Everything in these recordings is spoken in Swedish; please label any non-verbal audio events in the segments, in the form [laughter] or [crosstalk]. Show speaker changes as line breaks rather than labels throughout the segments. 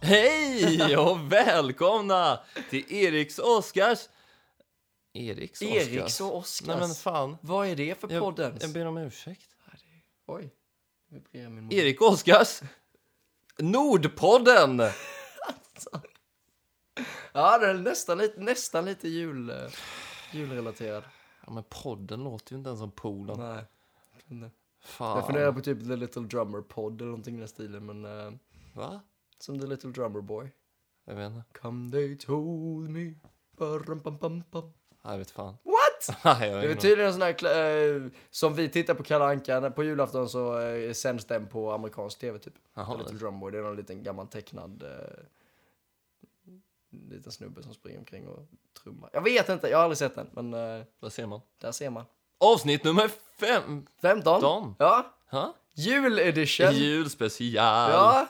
Hej och välkomna till Eriks och Oskars... Eriks och Oskars?
Eriks och Oskars.
Nej men fan.
Vad är det för
Jag,
podden?
jag ber om ursäkt.
Oj. Nu vibrerar min mobil.
Erik och Oskars Nordpodden!
Ja, den är nästan lite, nästan lite jul, eh, julrelaterad.
Ja men podden låter ju inte ens som poolen.
Nej. eh, Jag funderar
Fan.
på typ The Little Drummer Pod eller någonting i den stilen, men eh,
Va?
som The Little Drummer Boy.
Jag vet inte.
Come they told me. Barum, pam, pam, pam.
Nej, jag vet fan. [laughs]
What?
Nej, jag
Det
vet
är
inte.
tydligen en sån här, kla- eh, som vi tittar på Kalle Anka, när- på julafton så eh, sänds den på amerikansk tv typ.
Jaha,
The Little Drummer Boy, det är någon liten gammal tecknad eh, liten snubbe som springer omkring och trummar. Jag vet inte, jag har aldrig sett den, men eh,
Vad ser man?
där ser man.
Avsnitt nummer 15!
15? Ja,
Ha?
juledition.
Julspecial!
Ja,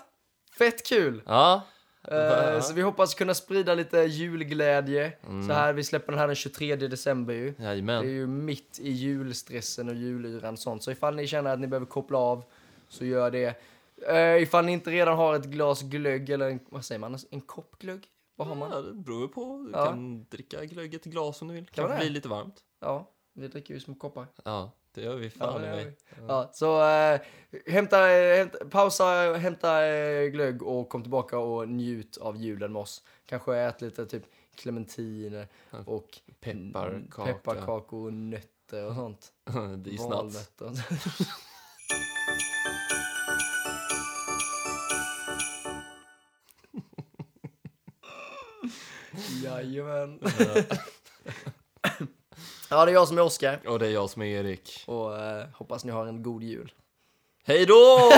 fett kul.
Ja.
Eh, så vi hoppas kunna sprida lite julglädje. Så här, vi släpper den här den 23 december ju. Det är
Jajamän.
ju mitt i julstressen och julyran och sånt. Så ifall ni känner att ni behöver koppla av, så gör det. Eh, ifall ni inte redan har ett glas glögg eller en, vad säger man, alltså en kopp glögg? Vad har man?
Ja, det beror ju på. Du
Ja.
kan dricka glögg i ett glas om du vill.
Kan
Kan
man
det bli
det?
lite varmt.
Ja, vi dricker ju små koppar.
Ja, det gör vi
Ja,
fan
det
i
gör
mig.
vi. ja, så eh, hämta, eh, hämta, pausa, hämta eh, glögg och kom tillbaka och njut av julen med oss. Kanske ät lite typ clementiner och
Pepparkaka.
pepparkakor och nötter och sånt.
[laughs] Det är snabbt.
Valnötter och sånt. Jajamän. ja, det är jag som är Oskar.
[laughs] Och det är jag som är Erik.
Och eh, hoppas ni har en god jul.
Hej [laughs] då!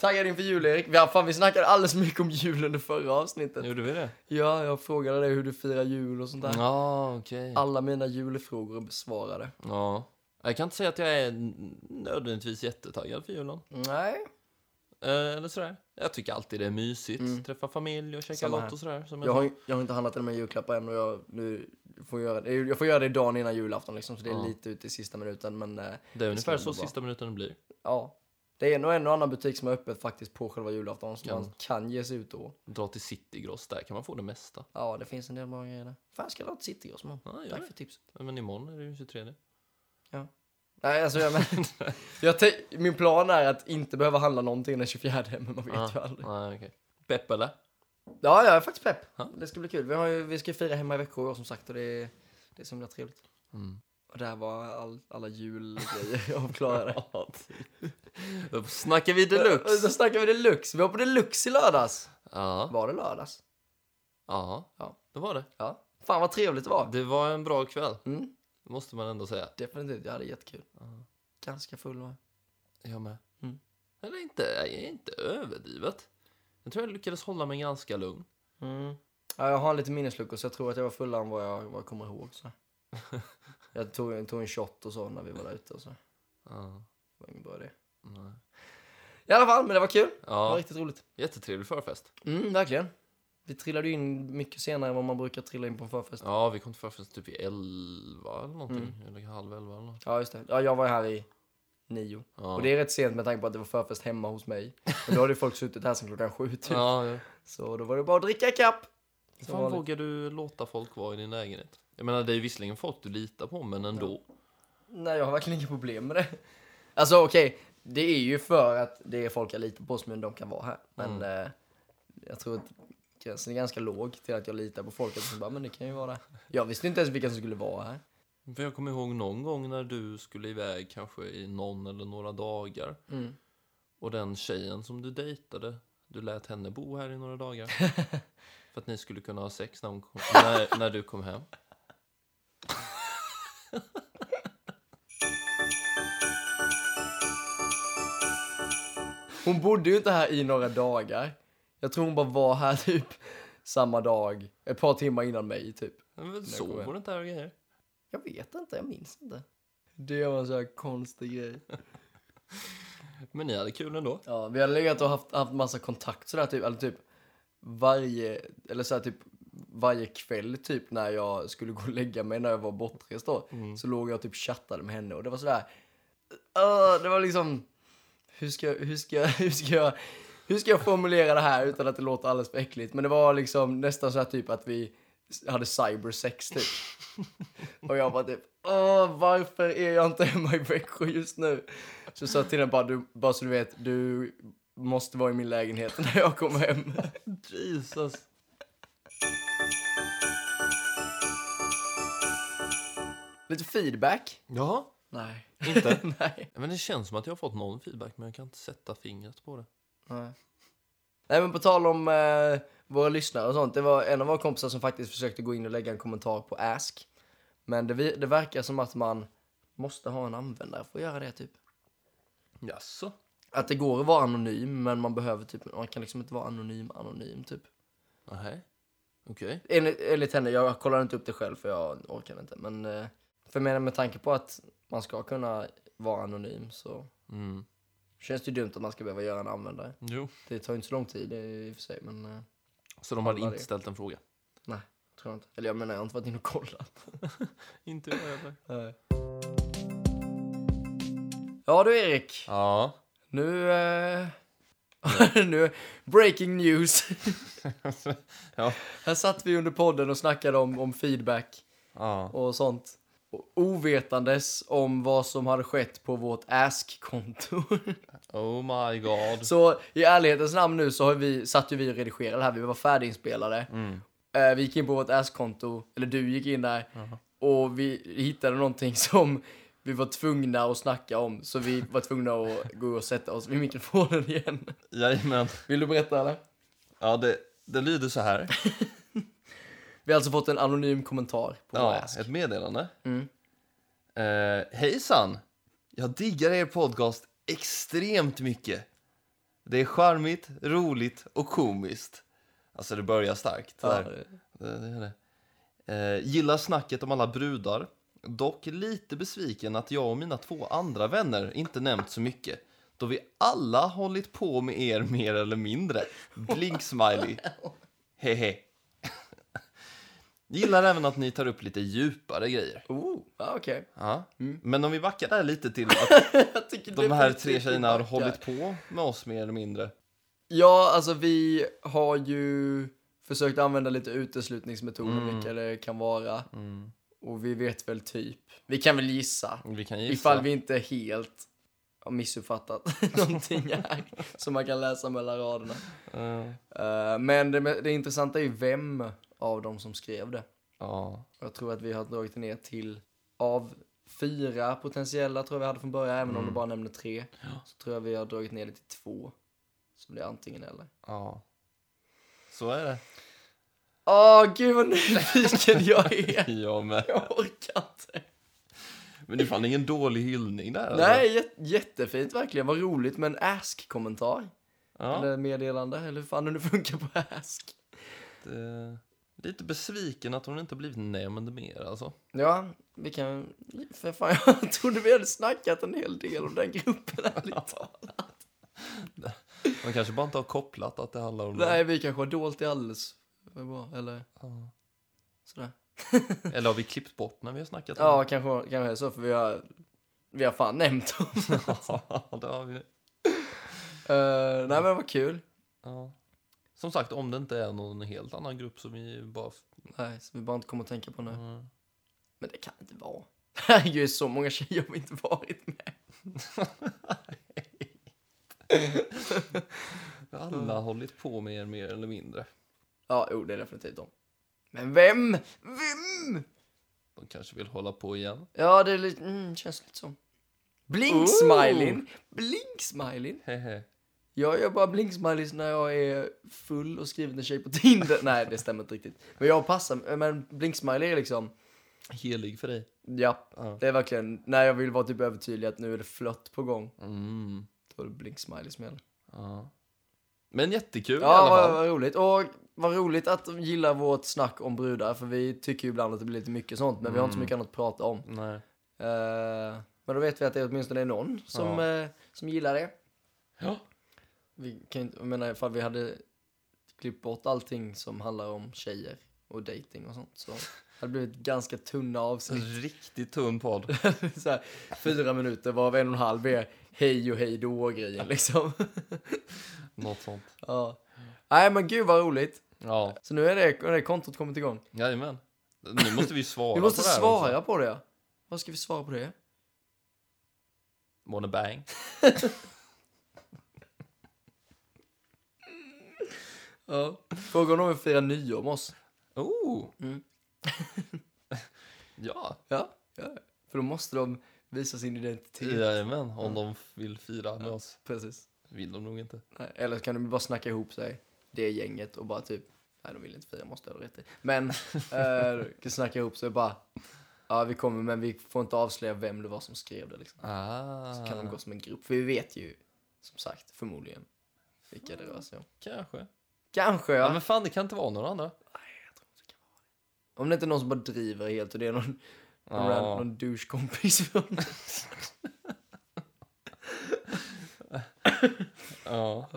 Taggad inför jul, Erik. Vi, har- fan, vi snackade alldeles mycket om jul under förra avsnittet.
Gjorde vi det?
Ja, jag frågade dig hur du firar jul och sånt
Mm.
där.
Ja, okej.
Alla mina julfrågor är besvarade.
Ja. Jag kan inte säga att jag är nödvändigtvis jättetaggad för julen.
Nej.
Eh, Eller sådär. Jag tycker alltid det är mysigt. Träffa familj och käka
Samma här.
gott och sådär. Som
Mm. Jag
jag...
har, jag har inte handlat till mina julklappar än och jag, nu får jag, göra, det- jag får göra det dagen innan julafton liksom, så det är
Ja.
lite ut i sista minuten. Men eh,
Det är ungefär
ska
så
gå bra.
sista minuten det blir.
ja, det är nog en och annan butik som är öppet faktiskt på själva julafton som
Ja.
man kan ge sig ut då.
Dra till Citygross, där kan man få det mesta.
Ja, det finns en del bra grejer där. Fan, ska jag ha ett citygross imorgon?
Ja, gör
Tack
det.
för tipset.
Men imorgon är det ju 23.
Nej, alltså jag men,
[laughs]
jag te- Min plan är att inte behöva handla någonting den 24, men man vet
Ah,
ju aldrig.
Nej, okej. Pepp eller?
Ja, jag är faktiskt pepp.
Ja.
Det ska bli kul. Vi, har ju, vi ska ju fira hemma i Växjö i år, som sagt och det är, det är så himla trevligt.
Mm.
Och där var all, alla julgrejer [laughs] avklarade.
Då snackar vi
Och så
deluxe.
snackar vi deluxe. Vi var på deluxe i lördags.
Ja,
Var det lördags?
ja.
Ja.
det var det.
Ja. Fan vad trevligt det var.
Det var en bra kväll,
Mm,
måste man ändå säga.
definitivt, jag hade jättekul. Ganska full var jag.
Jag med.
Mm.
Eller inte, jag är inte överdrivet. Jag tror jag lyckades hålla mig ganska lugn. Mm.
Ja, jag har lite minnesluckor så jag tror att jag var fullare än vad jag, vad jag kommer ihåg.
[laughs]
Så. jag tog, tog en shot och så när vi var där ute och så. Det
Ja,
var ingen bra idé.
nej.
I alla fall, men det var kul. Det var
ja
riktigt roligt.
jättetrevlig förfest.
Mm, verkligen. Vi trillade ju in mycket senare än vad man brukar trilla in på en förfest.
Ja, vi kom till förfest typ vid elva eller någonting.
Mm.
Eller halv elva eller något.
Ja, just det. Ja, jag var här i nio.
Ja.
Och det är rätt sent med tanke på att det var förfest hemma hos mig. Men då hade ju folk suttit här sedan klockan sju typ.
Ja, ja.
Så då var det bara att dricka ikapp.
Hur
Som
fan
vanligt.
vågar du låta folk vara i din lägenhet? Jag menar, det är ju visserligen folk du litar på, men ändå.
Nej, jag har verkligen inga problem med det. [laughs] Alltså okej, det är ju för att det är folk jag litar på som de kan vara här. Men eh, jag tror att gränsen är ganska låg till att jag litar på folk. Jag bara, men det kan ju vara det. Jag visste inte ens vilka som skulle vara här.
För jag kommer ihåg någon gång när du skulle iväg kanske i någon eller några dagar.
Mm.
Och den tjejen som du dejtade, du lät henne bo här i några [laughs] dagar. för att ni skulle kunna ha sex när, hon kom, när, när du kom hem.
Hon bodde ju inte här i några dagar. Jag tror hon bara var här [laughs] typ samma dag, ett par timmar innan mig typ.
Men väl
kommer
Sov
jag.
hon inte här och grejer?
Jag vet inte, jag minns inte. Det var en sån här konstig grej.
Men ni hade kul ändå.
Ja, vi har legat och haft, haft massa kontakt sådär typ, eller typ varje, eller såhär typ varje kväll typ när jag skulle gå och lägga mig när jag var bortrest då. Så låg jag och typ chattade med henne och det var sådär, Öh, det var liksom... Hur ska, jag- hur, ska, [laughs] jag- hur, ska jag, hur ska jag formulera det här utan att det låter alldeles för äckligt? Men det var liksom nästan så här typ att vi hade cybersex typ. Och jag bara typ, Åh, varför är jag inte hemma i Växjö just nu? Så jag sa till henne bara, du, bara så du vet, du måste vara i min lägenhet när jag kommer hem.
Jesus.
[laughs] Lite feedback?
Ja,
Nej.
inte. [laughs]
Nej.
Men det känns som att jag har fått någon feedback, men jag kan inte sätta fingret på det.
Nej. Nej men på tal om eh, våra lyssnare och sånt. Det var en av våra kompisar som faktiskt försökte gå in och lägga en kommentar på Ask. Men det, vi- det verkar som att man måste ha en användare för att göra det typ.
Jaså?
Att det går att vara anonym men man behöver typ, man kan liksom inte vara anonym anonym typ.
Nej. Okej.
Enligt, enligt henne, jag kollar inte upp det själv för jag orkar inte. Men eh, för jag menar med tanke på att man ska kunna vara anonym så
Mm.
känns det ju dumt att man ska behöva göra en användare.
Jo. det-
Det tar ju inte så lång tid eh, i och för sig men eh,
Så de hade
Kolla
inte
det.
ställt en fråga?
tror jag inte. Eller jag menar jag har inte varit inne och kollat.
Inte jag heller.
Ja du Erik,
Ja.
nu... Eh... [laughs] nu, breaking news.
Ja.
Här satt vi under podden och snackade om, om feedback
ja.
och sånt. Och ovetandes om vad som hade skett på vårt ask-konto.
Oh my god.
[laughs] så i ärlighetens namn nu så har vi, satt ju vi och redigerade här, vi var färdiginspelade.
Mm.
Eh, vi gick in på vårt ask-konto, eller du gick in där, och vi hittade någonting som vi var tvungna att snacka om, så vi var tvungna att gå och sätta oss vid mikrofonen igen.
Jajamän.
Vill du berätta eller?
Ja, det, det lyder så här.
Vi har alltså fått en anonym kommentar på vår
Ja,
ask.
ett meddelande.
Mm.
Eh, hejsan! Jag diggar er podcast extremt mycket. Det är charmigt, roligt och komiskt. Alltså, det börjar starkt.
Ja,
där. Det, det är det. Eh, gillar snacket om alla brudar. Dock lite besviken att jag och mina två andra vänner inte nämnt så mycket. Då vi alla hållit på med er mer eller mindre. Blink
[laughs]
smiley. Hehe. Gillar även att ni tar upp lite djupare grejer.
oh, ja, okej. [laughs]
Ja.
Mm.
Men om vi backar där lite till att
Jag tycker
de här
definitivt
tre tjejerna har
backar.
hållit på med oss mer eller mindre.
Ja, alltså vi har ju försökt använda lite uteslutningsmetoder,
Mm.
vilka det kan vara. Och vi vet väl typ. Vi kan väl gissa.
Vi kan
Ifall
gissa.
vi inte helt har missuppfattat [laughs] någonting här som man kan läsa mellan raderna.
Eh,
Eh, men det, det intressanta är ju vem av dem som skrev det.
ja.
Jag tror att vi har dragit ner till av fyra potentiella tror jag vi hade från början, även om
Mm.
du bara nämnde tre. Så tror jag vi har dragit ner det till två. Så det är antingen eller.
ja. Så
[laughs]
är det.
Åh gud
[laughs]
vad nyfiken jag är!
Jag med.
Jag orkar inte.
Men det är fan ingen dålig hyllning där. alltså. eller?
Nej, jät- jättefint verkligen. Vad roligt med en ask-kommentar.
Ja,
Eller meddelande, eller hur fan det nu funkar på ask.
det... Eh, Lite besviken att hon inte blivit nämnd mer alltså.
Ja, vi kan... För fan, [laughs] jag trodde vi hade snackat en hel del om den gruppen,
[laughs]
ärligt talat.
Man kanske bara inte har kopplat att det handlar om
Nej, vi kanske har dolt det alldeles för bra, eller
Ja.
sådär.
Eller har vi klippt bort när vi har snackat
Ja, kanske, kanske är så, för vi har, vi har fan nämnt dem. [laughs]
[laughs] Ja, det har vi.
Eh, nej, men vad kul.
Ja. Som sagt, om det inte är någon helt annan grupp som vi bara...
Nej, som vi bara inte kommer att tänka på nu.
Mm.
Men det kan inte vara. [laughs] Herregud, det är så många tjejer vi inte varit med.
Alla har hållit på med er mer eller mindre.
Ja, jo, det är definitivt dem. Men vem? Vem?
De kanske vill hålla på igen.
Ja, det är lite, mm, känns lite så. Blink-smileyn! Blink-smileyn!
Hehe.
Jag gör bara blink-smileys när jag är full och skriver en tjej på Tinder. [laughs] Nej, det stämmer inte riktigt. Men jag passar, men blink-smiley är liksom,
Helig för dig.
ja,
Ja.
det är verkligen, när jag vill vara typ övertydlig att nu är det flört på gång,
Mm.
då är det blink-smiley som gäller.
Ja. Men jättekul i
Ja,
alla
vad,
fall.
vad roligt. Och vad roligt att de gillar vårt snack om brudar, för vi tycker ju ibland att det blir lite mycket sånt, men vi har inte så
Mm.
mycket annat att prata om.
Nej.
Eh, men då vet vi att det åtminstone är någon som,
Ja.
eh, som gillar det.
Ja.
Vi kan ju inte, jag menar, ifall vi hade klippt bort allting som handlar om tjejer och dating och sånt, så hade blivit ganska tunna avsnitt. [laughs]
Riktigt tunn podd.
så här, fyra minuter varav en och en halv är hej och hej då-grejen liksom.
[laughs]
[laughs]
Något sånt.
ja. Nej men gud vad roligt.
Ja,
Så nu är det, det är kontot kommit igång.
jajamän. Nu måste vi ju svara
[laughs] Vi måste
på det här
svara
också.
på det. ja. Vad ska vi svara på det?
Wanna bang.
Ja. Fråga om de vill fira nyår med oss.
Oh!
Mm.
[laughs]
[laughs]
ja,
Ja. ja. För då måste de visa sin identitet.
jajamän.
Mm.
Om de vill fira med oss.
Precis.
Vill de nog inte.
Nej, Eller så kan de bara snacka ihop sig, det gänget, och bara typ, nej de vill inte fira, måste jag ha rätt i. [laughs] Men, eh, kan snacka ihop sig och bara, ja vi kommer men vi får inte avslöja vem det var som skrev det liksom.
Ah,
Så kan de gå som en grupp, för vi vet ju, som sagt, förmodligen vilka det rör sig om.
kanske. Ja.
Kanske ja.
men fan det kan inte vara några andra.
Om det inte är någon som bara driver helt och det är någon, någon, random- någon douchekompis.
ja.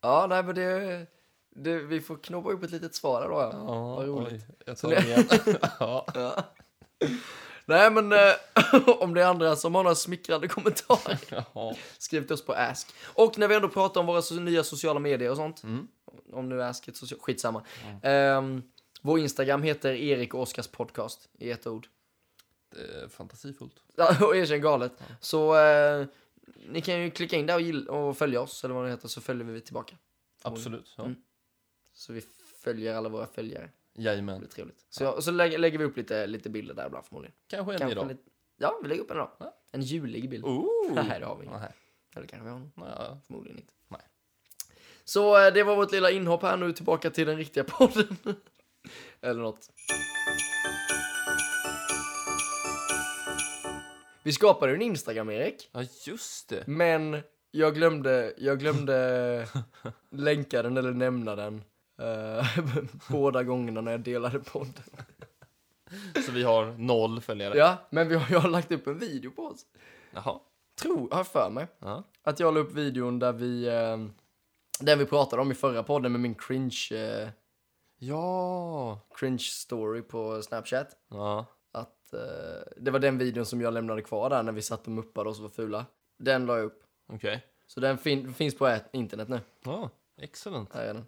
ja, nej men det, det, vi får knåpa upp ett litet svar där då ja.
ja.
Vad roligt.
Oj, jag tar det [laughs] igen. ja.
Ja. [laughs] Nej, men eh, [laughs] om det är andra som har några smickrande kommentarer, [laughs]
ja.
skriv till oss på Ask. Och när vi ändå pratar om våra so- nya sociala medier och sånt,
Mm.
om nu Ask är ett socialt... Skitsamma. Ehm, vår Instagram heter Erik och Oskars podcast, i ett ord.
Det är fantasifullt.
Ja, [laughs] och erkänn galet. Så eh, ni kan ju klicka in där och, gill- och följa oss, eller vad det heter, så följer vi tillbaka.
Absolut. Ja.
Mm. Så vi följer alla våra följare. Det
Jajamän.
blir trevligt. Så, och så lägger, lägger vi upp lite, lite bilder där ibland förmodligen.
Kanske en
Kanske
idag.
lite, ja, Oh. vi lägger upp en idag.
Ja.
En julig bild.
Ooh. [laughs]
Nej, det har vi inte.
Nej.
Eller kanske vi har någon.
Ja.
Förmodligen inte.
Nej.
Så eh, det var vårt lilla inhopp här nu, tillbaka till den riktiga podden. [laughs] Eller något. Vi skapade ju en Instagram, Erik.
ja, just det.
Men jag glömde, jag [laughs] glömde länka den eller nämna den. eh, [laughs] båda gångerna när jag delade podden.
Så vi har noll följare.
Ja, men vi har, jag har lagt upp en video på oss.
Jaha.
Tror, har jag för mig.
Ja.
Att jag la upp videon där vi, eh, den vi pratade om i förra podden med min cringe, eh,
Ja.
cringe story på Snapchat.
Ja.
Att eh, det var den videon som jag lämnade kvar där när vi satt och muppade och så var fula. Den la jag upp.
Okej.
Så den fin- finns på ä- internet nu.
Ja. [laughs] Excellent.
Här är den.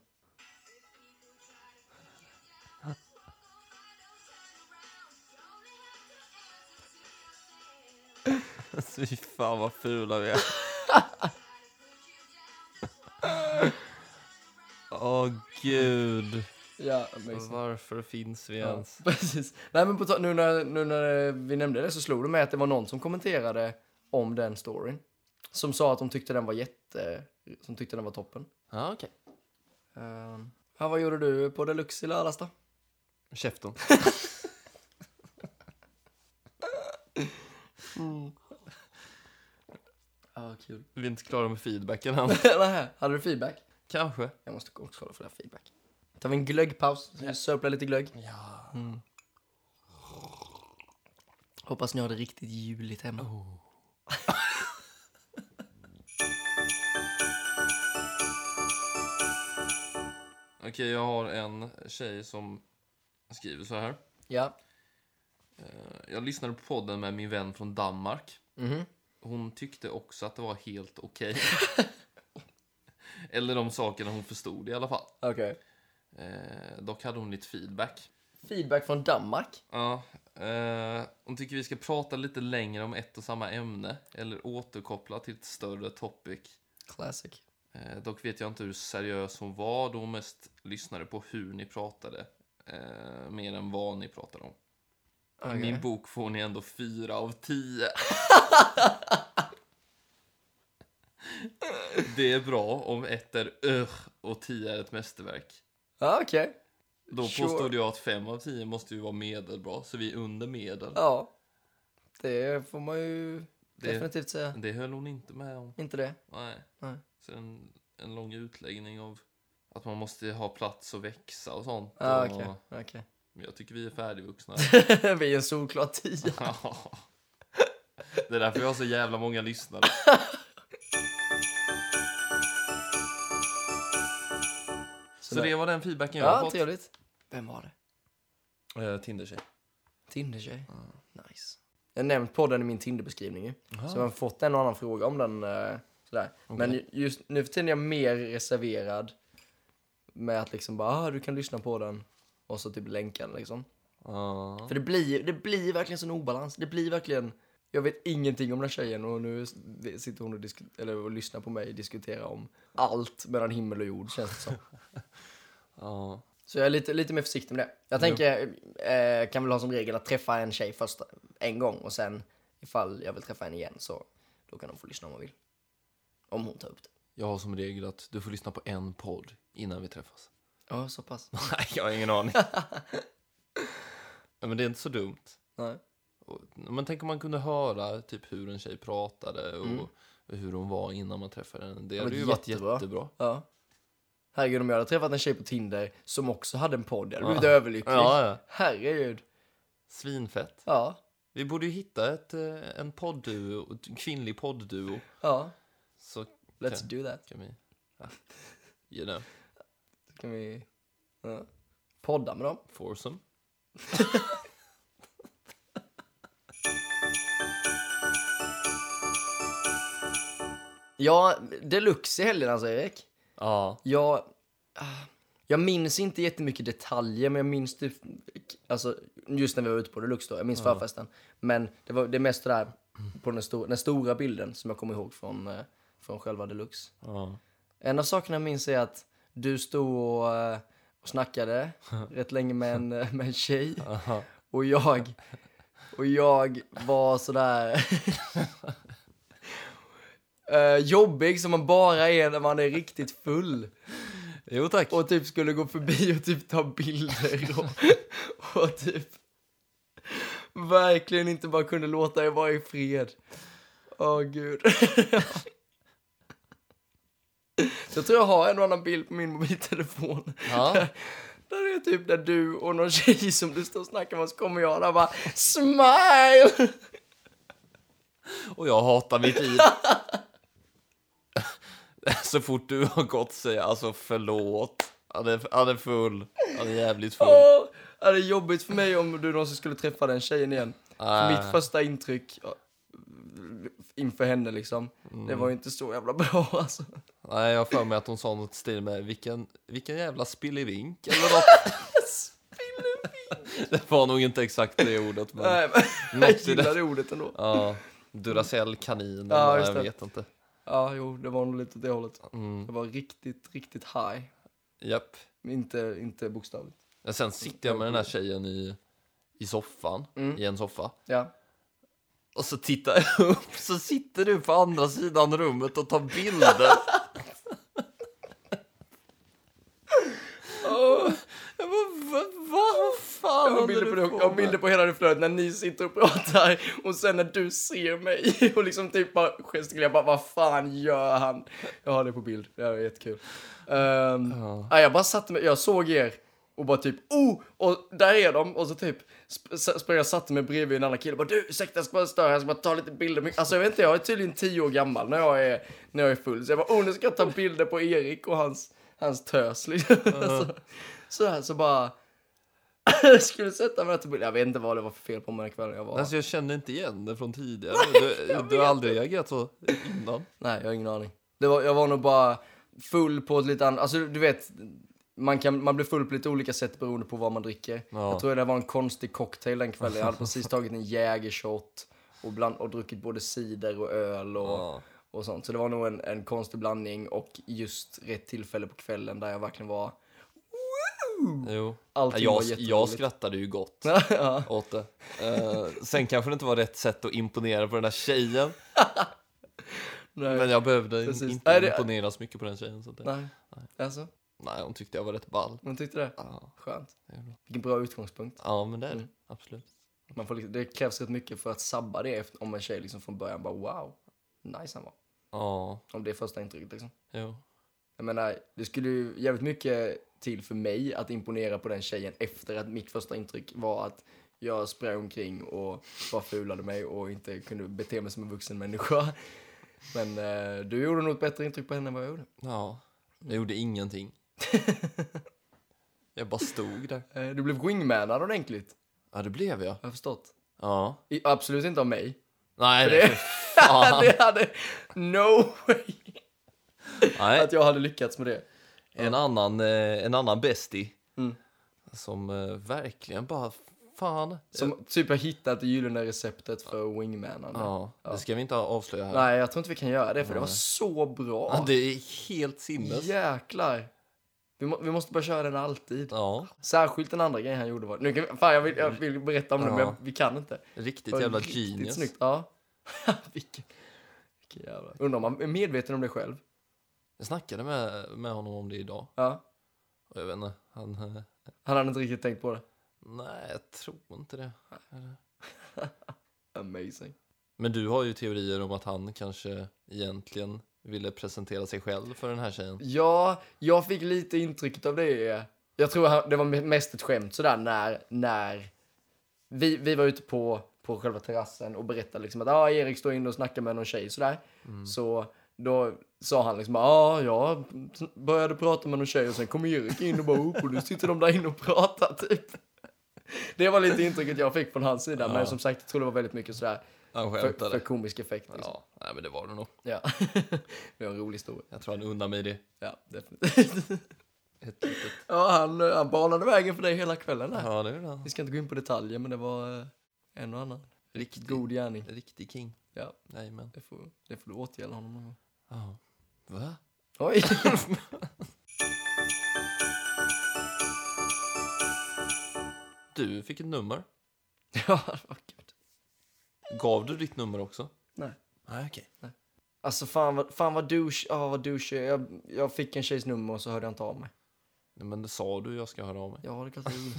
Fy fan vad fula vi är. [laughs] Åh gud.
Ja, amazing.
Varför finns vi
Ja,
ens?
[laughs] precis. Nej men på ta- nu, när, nu när vi nämnde det så slog det mig att det var någon som kommenterade om den storyn. Som sa att de tyckte den var jätte, som tyckte den var toppen.
Ja, okej.
Um, ja, vad gjorde du på Deluxe i lördags då?
Käften.
Ja, kul.
Vi är inte klara med feedbacken [laughs]
[laughs]
än.
Nej, hade du feedback?
Kanske.
Jag måste också kolla för det här feedback. Tar vi en glöggpaus, så vi sörplar lite glögg. Mm.
Ja.
Hoppas ni har det riktigt juligt hemma.
Okej, jag har en tjej som skriver så här.
Ja.
Eh, Jag lyssnade på podden med min vän från Danmark.
Mhm.
Hon tyckte också att det var helt [laughs] okej. Eller de sakerna hon förstod i alla fall.
Okej.
Eh, dock hade hon lite feedback.
Feedback från Danmark.
Ja, eh, hon tycker vi ska prata lite längre om ett och samma ämne eller återkoppla till ett större topic.
Classic.
Eh, dock vet jag inte hur seriös hon var då hon mest lyssnade på hur ni pratade. Eh, mer än vad ni pratade om. I
Okej.
Min bok får ni ändå fyra av
[laughs]
tio. Det är bra om ett är öh och tio är ett mästerverk.
Ja, okej.
Då
Sure.
påstod jag att fem av tio måste ju vara medelbra, så vi är under medel.
Ja. Det får man ju
Det-
definitivt säga.
Det höll hon inte med om.
Inte det?
Nej.
Nej.
Så en, en lång utläggning av att man måste ha plats och växa och sånt.
Ja,
Och-
Ah, okej. okej. [laughs]
Men jag tycker vi är färdigvuxna.
Vi är en solklar tia.
Ja. Det är därför jag har så jävla många lyssnare. Så det var den feedbacken jag har
Ja,
fått.
trevligt. Vem var det?
Eh, Tinder-tjej.
Tindertjej. Nice. Jag har nämnt podden i min Tinderbeskrivning ju. Så jag har fått en och annan fråga om den. eh, Sådär. Men ju- just nu för tiden är jag mer reserverad med att liksom bara, ah, du kan lyssna på den. Och så typ länka den liksom.
Ja.
För det blir, det blir verkligen sån obalans. Det blir verkligen, jag vet ingenting om den här tjejen och nu s- sitter hon och, disku- eller, och lyssnar på mig och diskuterar om allt mellan himmel och jord känns det som.
Ja.
Så jag är lite, lite mer försiktig med det. Jag tänker, eh, kan väl ha som regel att träffa en tjej först en gång och sen ifall jag vill träffa henne igen så då kan hon få lyssna om hon vill. Om hon tar upp det.
Jag har som regel att du får lyssna på en podd innan vi träffas. [laughs]
Ja, så pass.
Nej, jag har ingen aning. Men det är inte så dumt.
[laughs] Nej.
Och, men tänk om man kunde höra typ hur en tjej pratade och hur hon var innan man träffade henne. Det hade
Mm. men
ju varit
jättebra.
jättebra.
Ja. Herregud, om jag hade träffat en tjej på Tinder som också hade en podd, jag hade blivit överlycklig.
Ja, ja.
Herregud.
Svinfett.
Ja.
Vi borde ju hitta ett, eh, en poddduo, en kvinnlig poddduo.
Ja.
Så
Let's do that.
kan vi... Ja. You know,
Kan vi ja. podda med dem?
foursome.
Ja, deluxe i helgen alltså Erik.
Ja.
Jag, ah, jag minns inte jättemycket detaljer, men jag minns typ, alltså, just när vi var ute på Deluxe då, jag minns förfesten. Men det var det mesta där, på den, stor, den stora bilden som jag kommer ihåg från, eh, från själva Deluxe.
ja.
En av sakerna jag minns är att du stod och, eh, och snackade rätt länge med en, eh, med en tjej. Och jag, och jag var sådär... eh, jobbig som man bara är när man är riktigt full.
Jo tack.
Och typ skulle gå förbi och typ ta bilder och, och typ verkligen inte bara kunde låta er vara i fred. Åh gud. Jag tror jag har en och annan bild på min mobiltelefon.
Ja.
Där är typ där du och någon tjej som du står och snackar med och så kommer jag där och bara smile.
Och jag hatar mitt liv. [laughs] Så fort du har gått säger jag alltså förlåt. Han är, han är full. Han är jävligt full.
Åh, det är jobbigt för mig om du någonsin skulle träffa den tjejen igen. För
Ah.
mitt första intryck ja, inför henne liksom, det
Mm.
var ju inte så jävla bra [laughs] alltså.
Nej, jag har för mig att hon sa något i stil med vilken, vilken jävla spillevink eller något. [laughs] Det var nog inte exakt det ordet, men
Nej, men jag
Något i det.
gillar det ordet ändå.
ja, Duracell kanin
Ja,
eller
just
jag
det.
vet inte.
Ja, jo, det var nog lite åt det hållet.
Mm,
Det var riktigt, riktigt high.
japp.
Men Inte, inte bokstavligt.
Men Sen sitter jag med den här tjejen i, i soffan,
Mm.
i en soffa.
Ja.
Och så tittar jag upp, så sitter du på andra sidan rummet och tar
[laughs]
bilder.
Oh,
Jag bara, va, va, vad fan
jag har
håller
bilder på,
du
det, jag har bilder på hela det flödet när ni sitter och pratar och sen när du ser mig [laughs] och liksom typ bara gestikulerar bara vad fan gör han? Jag har det på bild, det här är jättekul. Ehm,
Ja.
nej, jag bara satte mig, jag såg er och bara typ oh, och där är de och så typ sp- s- sprang jag och satte mig bredvid en annan kille och bara du ursäkta jag ska bara störa, jag ska bara ta lite bilder. Men- Alltså jag vet inte, jag är tydligen tio år gammal när jag är, när jag är full så jag bara oh nu ska jag ta bilder på Erik och hans, hans tös liksom. [laughs] så, så här så bara [laughs] jag skulle sätta mig där till bild. Jag vet inte vad det var för fel på mig den kvällen jag var.
Alltså jag kände inte igen det från tidigare. Du, du har aldrig reagerat så innan.
Nej, jag har ingen aning. Det var, jag var nog bara full på ett lite annat... Alltså, du vet, man, kan, man blir full på lite olika sätt beroende på vad man dricker.
Ja.
Jag tror det var en konstig cocktail den kvällen. Jag hade precis tagit en jägershot och, bland, och druckit både cider och öl och,
Ja.
och sånt. Så det var nog en, en konstig blandning och just rätt tillfälle på kvällen där jag verkligen var...
Jo.
Allting
jag,
var
jag
jätteroligt.
skrattade ju gott
[laughs] ja.
åt det. Eh, sen kanske det inte var rätt sätt att imponera på den här tjejen.
Nej.
Men jag behövde in-
Precis.
inte
Nej, det-
imponera så mycket på den tjejen. Så att det,
Nej. Alltså,
nej, hon tyckte jag var rätt ball.
man tyckte det?
Ja,
Skönt.
det är bra.
Vilken bra utgångspunkt.
ja men det är det.
Mm.
Absolut.
Man får liksom, det krävs rätt mycket för att sabba det efter- om en tjej liksom från början bara wow, nice han var.
Ja,
Om det är första intrycket liksom.
jo.
Jag menar, det skulle ju jävligt mycket till för mig att imponera på den tjejen efter att mitt första intryck var att jag sprang omkring och bara fulade mig och inte kunde bete mig som en vuxen människa. [laughs] Men eh, du gjorde nog ett bättre intryck på henne än vad jag gjorde.
Ja, jag gjorde
[laughs]
ingenting. jag bara stod där.
Eh, du blev wingmanad ordentligt.
Ja, det blev jag.
jag har förstått.
Ja.
I, absolut inte av mig. [laughs]
Nej,
det-
nej, för fan.
det hade... [laughs] No way
[laughs] nej.
att jag hade lyckats med det.
En annan, eh, en annan bestie
Mm.
som eh, verkligen bara, fan.
Som typ har hittat det gyllene receptet för wingmanande.
Eh. Ja, det ska vi inte avslöja här.
Nej, jag tror inte vi kan göra det för det var så bra.
Ja, Det är helt sinnes.
Jäklar. Vi, må, vi måste bara köra den alltid.
Ja,
Särskilt den andra grejen han gjorde var... Nu kan vi, fan, jag vill, jag vill berätta om det,
Ja.
men jag, vi kan inte.
riktigt
Det var
jävla
riktigt
genius.
Snyggt. Ja. [laughs] vilken, vilken jävla... Undrar om man är medveten om det själv.
Jag snackade med, med honom om det idag.
Ja.
Och Jag vet inte, han... eh,
Han hade inte riktigt tänkt på det.
Nej, jag tror inte det.
Amazing.
Men du har ju teorier om att han kanske egentligen ville presentera sig själv för den här tjejen.
Ja, jag fick lite intrycket av det. Jag tror han- det var mest ett skämt sådär när, när vi, vi var ute på, på själva terrassen och berättade liksom att ah, Erik står inne och snackar med någon tjej sådär. Så då sa han liksom ah, jag började prata med någon tjej och sen kom Erik in och bara upp och nu sitter de där inne och pratar typ. Det var lite intrycket jag fick från hans sida, men som sagt, jag tror det var väldigt mycket sådär
Han
för, för
skämtade.
komisk effekt. Liksom.
Ja, nej men det var det nog.
Ja. [laughs] det var en rolig historia.
Jag tror han unnar mig det.
Ja, definitivt.
Ett litet.
Ja, han, han banade vägen för dig hela kvällen där.
Ja, det gjorde han.
Vi ska inte gå in på detaljer, men det var eh, en och annan
Riktig,
god gärning.
riktig king.
Ja,
Nej men.
det får, det får du återgälda honom någon gång.
Ja. Va?
Oj!
Du fick ett nummer.
[laughs] ja, vad kul.
Gav du ditt nummer också?
Nej.
Nej, okej.
Alltså fan vad, fan vad douche, ja vad douche. jag är. Jag, jag fick en tjejs nummer och så hörde jag inte av mig.
Nej, Men det sa du jag ska höra av mig.
Ja, det kanske jag gjorde.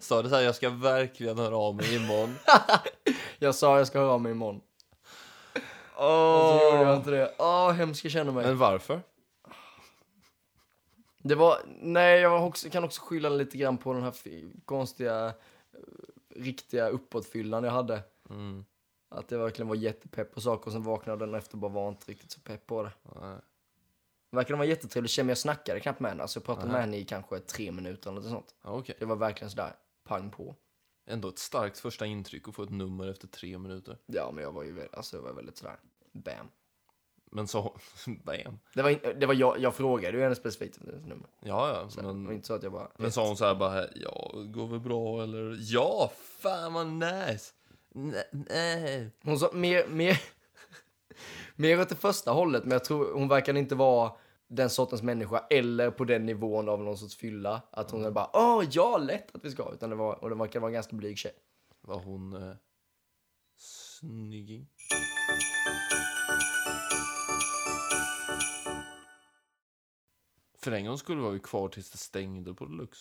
Sa du så här, jag ska verkligen höra av mig
[laughs]
imorgon.
[laughs] Jag sa jag ska höra av mig imorgon. Och så Alltså, gjorde jag
Åh.
inte det. Åh, hemskt jag känner mig.
Men varför?
Det var, nej jag var också, kan också skylla lite grann på den här fi- konstiga, eh, riktiga uppåtfyllan jag hade.
Mm.
Att jag verkligen var jättepepp på saker och sen vaknade den efter och bara var inte riktigt så pepp på det.
Nej.
Verkligen var jättetrevlig tjej men jag snackade knappt med henne. Alltså jag pratade
Aha.
med henne i kanske tre minuter eller något sånt.
Ja, okej.
Det var verkligen sådär pang på.
Ändå ett starkt första intryck att få ett nummer efter tre minuter.
Ja men jag var ju väl- alltså jag var väldigt sådär bam.
Men så, [laughs] bam.
Det var, in, det var jag, jag frågade ju henne specifikt om hennes nummer.
Ja, ja.
Så Det var
Men,
inte så att jag bara...
men sa hon så här bara, ja, går väl bra eller? Ja, fan vad nice. Nej, nej.
Hon sa mer, mer, [laughs] mer åt det första hållet, men jag tror hon verkar inte vara den sortens människa eller på den nivån av någon sorts fylla. Att hon är bara åh ja, lätt att vi ska. Utan det var, och det verkar vara en ganska blyg tjej.
Var hon eh, snygging? För en gång skulle vara vi kvar tills det stängde på Lux.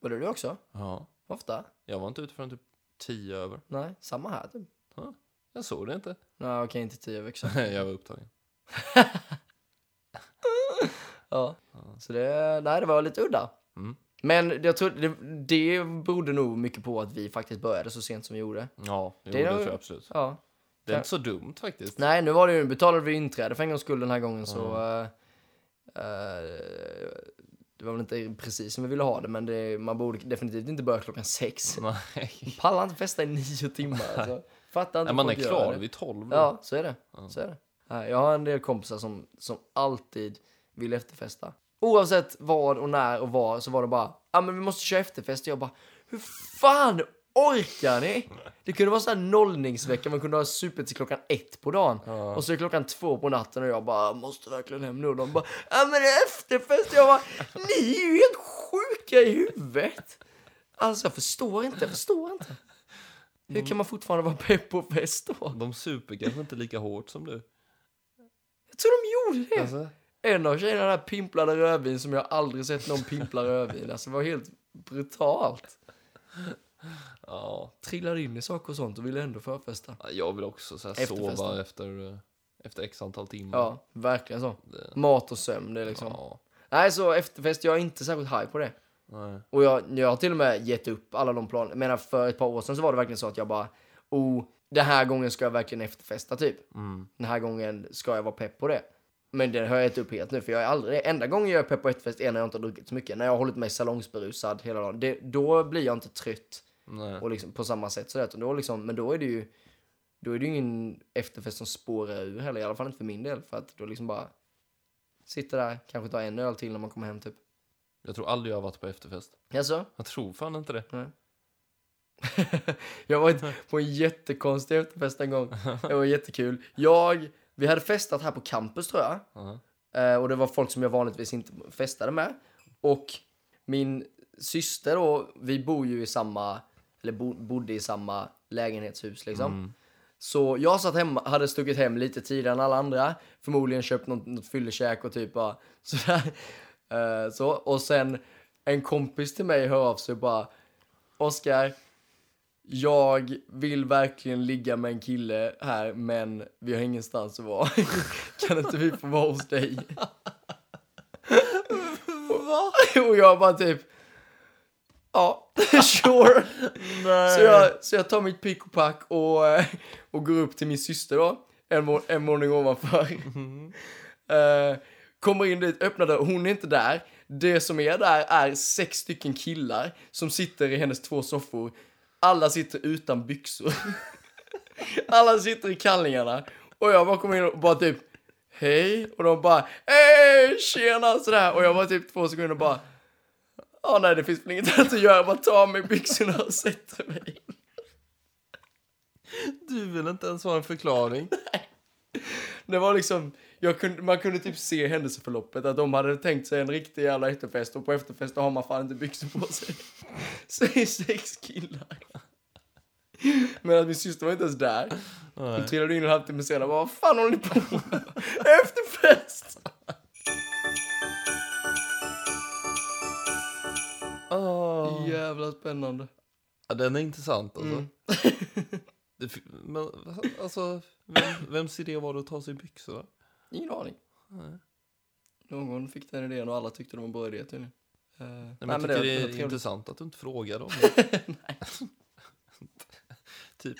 Var det du också?
Ja.
Ofta?
Jag var inte ute förrän typ tio över.
Nej, samma här typ.
Jag såg det inte.
Nej, okej, inte tio veckor
[laughs] jag var upptagen.
Ja. Så det, nej, det var lite udda.
Mm.
Men jag tror det, det berodde nog mycket på att vi faktiskt började så sent som vi gjorde.
Ja, jo,
Det
det,
är nog-
tror jag absolut.
Ja.
Det är inte så dumt faktiskt.
Nej, nu var det ju, betalade vi inträde för en gångs skull den här gången så... eh, eh, det var väl inte precis som vi ville ha det, men det, man borde definitivt inte börja klockan sex.
Nej.
Pallar inte festa i nio timmar alltså.
[laughs]
Fattar inte
Nej,
hur
man är
folk gör
klar
det.
vid tolv. då.
Ja, Mm. så är det. Så är det. Nej, Jag har en del kompisar som, som alltid vill efterfesta. Oavsett vad och när och var så var det bara, ja ah, men vi måste köra efterfest. Jag bara, hur fan orkar ni? Det kunde vara sån här nollningsvecka, man kunde ha supit till klockan ett på dagen.
Ja.
Och så är klockan två på natten och jag bara, måste verkligen hem nu. Och de bara, ja ah, men det är efterfest. Jag bara, ni är ju helt sjuka i huvudet. Alltså jag förstår inte, jag förstår inte. Hur kan man fortfarande vara pepp på fest då?
De super kanske inte lika hårt som du.
Jag tror de gjorde det.
Alltså,
En av tjejerna där pimplade rödvin som jag aldrig sett någon pimpla rödvin. Alltså det var helt brutalt.
ja.
Trillade in i saker och sånt och ville ändå förfesta.
Jag vill också så här
Efterfesten.
sova efter, eh, efter x antal timmar.
Ja, verkligen så.
Det-
Mat och sömn, det är liksom.
ja.
Nej, så efterfest, jag är inte särskilt high på det.
Nej.
Och jag, jag har till och med gett upp alla de planerna. Jag menar, för ett par år sedan så var det verkligen så att jag bara, oh, den här gången ska jag verkligen efterfesta typ.
Mm.
Den här gången ska jag vara pepp på det. Men den har jag ätit upp helt nu, för jag är aldrig... Enda gången jag är pepp på ett fest är när jag inte har druckit så mycket. När jag har hållit mig salongsberusad hela dagen. Det, då blir jag inte trött
Nej.
och liksom, på samma sätt. Sådär, utan då liksom, men då är det ju... Då är det ju ingen efterfest som spårar ur heller, i alla fall inte för min del. För att då liksom bara... Sitter där, kanske tar en öl till när man kommer hem typ.
Jag tror aldrig jag har varit på efterfest.
Jaså? [laughs]
Jag tror fan inte det.
Jag var ett- på en jättekonstig efterfest en gång. Det var jättekul. Jag, vi hade festat här på campus tror jag.
Ja.
Eh, och det var folk som jag vanligtvis inte festade med. Och min syster då, vi bor ju i samma, eller bo, bodde i samma lägenhetshus liksom. Så jag satt hemma, hade stuckit hem lite tidigare än alla andra. Förmodligen köpt något, något fyllekäk och typ bara [laughs] sådär. Eh, så. Och sen en kompis till mig hör av sig och bara Oskar, jag vill verkligen ligga med en kille här men vi har ingenstans att vara. [laughs] kan inte vi få vara hos dig? Va? Och jag bara typ, ja, [laughs] sure. Så jag, så jag tar mitt pick och pack och, [laughs] eh, och går upp till min syster då, en, må- en våning ovanför. Eh, kommer in dit, öppnar dörren, hon är inte där. Det som är där är sex stycken killar som sitter i hennes två soffor. Alla sitter utan byxor. [laughs] Alla sitter i kallingarna. Och jag bara kommer in och bara typ Hej! Och de bara Hej! Tjena! Sådär. Och jag var typ två sekunder och bara Ja, nej, det finns väl inget annat att göra. Jag bara tar av mig byxorna och sätter mig.
Du vill inte ens ha en förklaring.
Det var liksom, jag kunde, man kunde typ se händelseförloppet. Att de hade tänkt sig en riktig jävla efterfest och på efterfest då har man fan inte byxor på sig. [laughs] Så det är sex killar. Men att min syster var inte ens där. Hon trillade in en halvtimme senare och bara, vad fan håller ni på med? [laughs] Efterfest! Ah.
Oh.
Jävla spännande.
Ja, den är intressant alltså.
Mm.
Det fi- Men alltså, vem, vems idé var det att ta sig byxorna?
Ingen aning.
Nej.
Någon fick den idén och alla tyckte det var en bra idé tydligen. Eh,
Nej, men jag tycker
var-
det,
var
är
trevligt.
intressant att du inte frågar
[laughs]
dem. typ,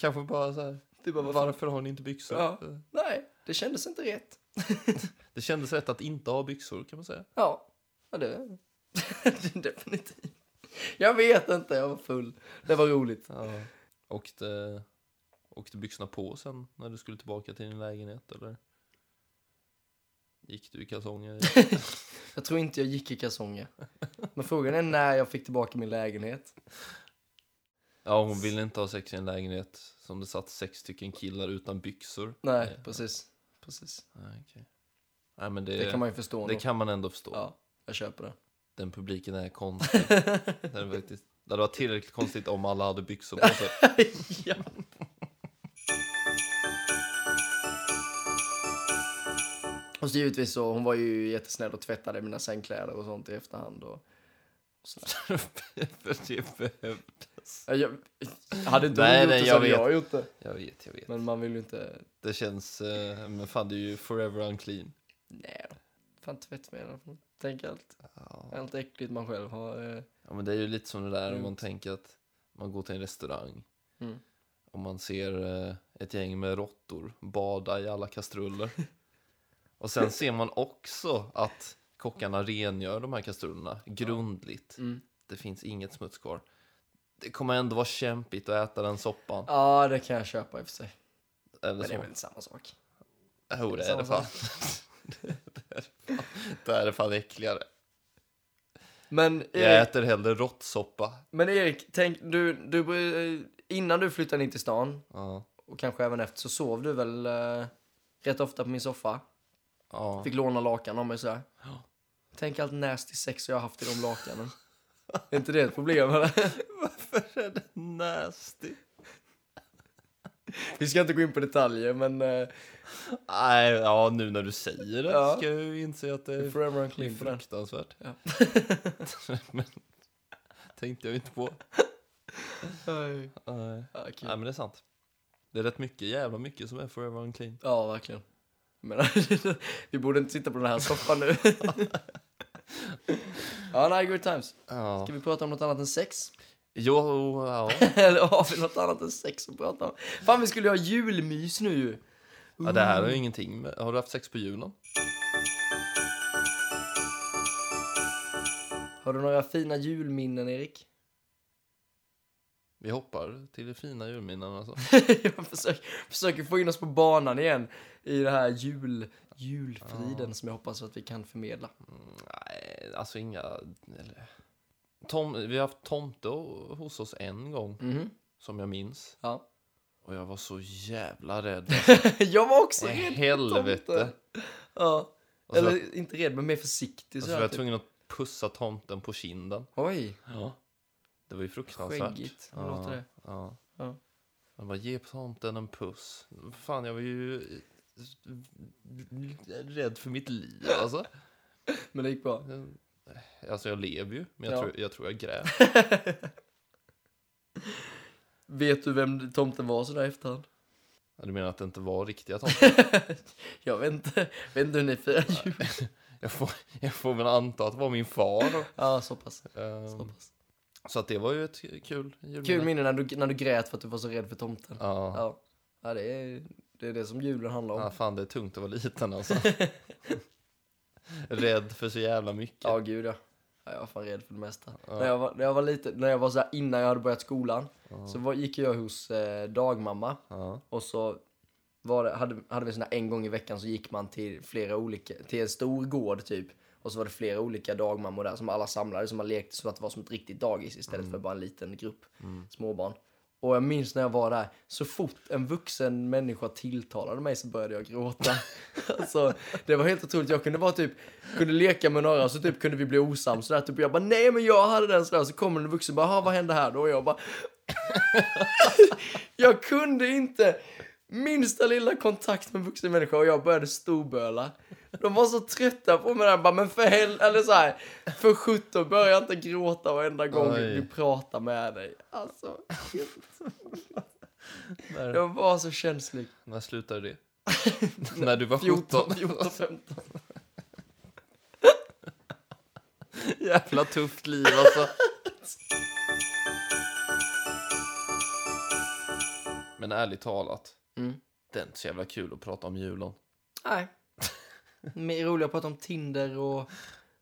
kanske bara så här,
Du bara, vad fan?
varför har ni inte byxor?
Ja.
Eh,
Nej, det kändes inte rätt.
Det kändes rätt att inte ha byxor kan man säga.
Ja, ja det [laughs] definitivt. Jag vet inte, jag var full. Det var roligt.
Ja. Och det, och det byxorna på sen när du skulle tillbaka till din lägenhet eller? Gick du i
[laughs]
kalsonger?
Jag tror inte jag gick i kalsonger. Men frågan är när jag fick tillbaka min lägenhet.
Ja, hon ville inte ha sex i en lägenhet som det satt sex stycken killar utan byxor.
Nej, precis. precis.
Nej, okej. Nej, men det,
Det kan man ju förstå.
det
nog.
kan man ändå förstå.
Ja, jag köper det.
Den publiken är
[laughs]
konstig. Den är faktiskt, det hade varit tillräckligt konstigt om alla hade byxor på
[laughs]
sig. [laughs]
ja. Och så givetvis så, hon var ju jättesnäll och tvättade mina sängkläder och sånt i efterhand. Och,
För det behöv-
Ja, Eh, jag, hade inte
Nej,
hon gjort
nej,
det så
jag
hade
vet.
jag gjort det.
jag vet, jag vet.
Men man vill ju inte
Det känns... eh, Men fan, det är ju forever unclean.
Nej då. Fan tvättmedel. Tänk allt,
Ja.
allt äckligt man själv har. eh.
Ja, men det är ju lite som det där om man
Lugnt.
tänker att man går till en restaurang
Mm.
och man ser eh, ett gäng med råttor bada i alla kastruller. [laughs] och sen ser man också att kockarna rengör de här kastrullerna grundligt.
Mm.
Det finns inget smuts kvar. Det kommer ändå vara kämpigt att äta den soppan.
Ja, det kan jag köpa i och för sig.
Eller
Men det är
så.
väl samma sak.
Jo, det är
samma
det fan. [laughs] det är det fan äckligare.
Men Erik,
Jag äter hellre råttsoppa.
Eh, men Erik tänk, du, du, eh, innan du flyttade in till stan
Ja.
och kanske även efter så sov du väl eh, rätt ofta på min soffa.
Ja.
Fick låna lakan av mig sådär.
Ja.
Tänk allt nasty sex jag har haft i de
[laughs]
lakanen. är inte det ett problem eller?
Varför är det nasty?
Vi ska inte gå in på detaljer men eh,
Nej, ja, nu när du säger det
Ja.
ska jag ju inse att det
det är
är
forever
det är
unclean på den.
fruktansvärt.
Ja.
[laughs] men tänkte jag inte på.
Aj.
Nej,
Ja, kul.
Nej, men det är sant. Det är rätt mycket, jävla mycket som är forever unclean.
Ja, verkligen. Men, [laughs] vi borde inte sitta på den här soffan nu. [laughs] ja, nej, good times.
Ja.
Ska vi prata om något annat än sex? [laughs]
Jo, ja.
Eller har vi något annat än sex att prata om? Fan, vi skulle ju ha julmys nu ju.
Ja, det här har ju ingenting med... Har du haft sex på julen?
Har du några fina julminnen, Erik? [laughs]
Vi hoppar till det fina julminnen alltså.
Jag försöker, försöker få in oss på banan igen i det här jul, julfriden som jag hoppas att vi kan förmedla.
Nej, alltså inga... Eller... Tom, vi har haft tomte o- hos oss en gång,
Mhm.
som jag minns.
Ja.
Och jag var så jävla
[laughs]
rädd.
[laughs] jag var också
Nej,
rädd.
helvete.
tomten. Ja.
Och så-
Eller inte rädd, men mer försiktig.
Och
Så
så var
här,
jag
typ.
tvungen att pussa tomten på kinden.
Oj,
Ja. Det var ju fruktansvärt.
skäggigt. Hur låter det?
Ja.
Ja.
Jag bara, ge tomten en puss. Fan, jag var ju eh, rädd för mitt liv alltså. Eh,
Men det gick bra.
Alltså jag lever ju, men jag,
Ja.
tror, jag tror jag
[laughs]
grät.
Vet du vem tomten var sådär i efterhand?
Ja, Du menar att det inte var riktiga
[laughs]
tomtar?
Jag vet inte. Vet inte hur ni firar jul.
jag, får, jag får väl anta att det var min far.
Ja, så pass.
Ehm,
Så pass.
så att det var ju ett kul julminne.
Kul minne när du, när du grät för att du var så rädd för tomten.
Ja.
Ja, ja det, är, det är det som julen handlar om.
ja, fan det är tungt att vara liten
[laughs]
alltså. Rädd för så jävla mycket.
Ja, gud ja. ja. Jag var fan rädd för det mesta.
Ja.
När, jag var, när jag var liten, när jag var så här, innan jag hade börjat skolan, så var, gick jag hos eh, dagmamma
Ja.
och så var det, hade, hade vi sån här en gång i veckan så gick man till flera olika, till en stor gård typ. Och så var det flera olika dagmammor där som alla samlades, som man lekte så att det var som ett riktigt dagis istället för bara en liten grupp småbarn. Och jag minns när jag var där, så fort en vuxen människa tilltalade mig så började jag gråta. [laughs] alltså, det var helt otroligt. Jag kunde vara typ, kunde leka med några och så typ kunde vi bli osams sådär. Typ jag bara, nej men jag hade den sådär. Så kommer en vuxen bara, "Ha, vad hände här då? Och jag bara, [laughs] jag kunde inte minsta lilla kontakt med en vuxen människa och jag började storböla. De var så trötta på mig där, bara, men för hel... eller så här, för sjutton börja inte gråta varenda gång
Oj.
vi pratar med dig. Alltså, jag var så känslig.
När slutade
[laughs]
det? När du var
14,
17?
14, 15.
[laughs]
[laughs]
Jävla tufft liv alltså. Men ärligt talat,
Mm.
det är inte så jävla kul att prata om julen.
Nej. Mer roligt att prata om Tinder och,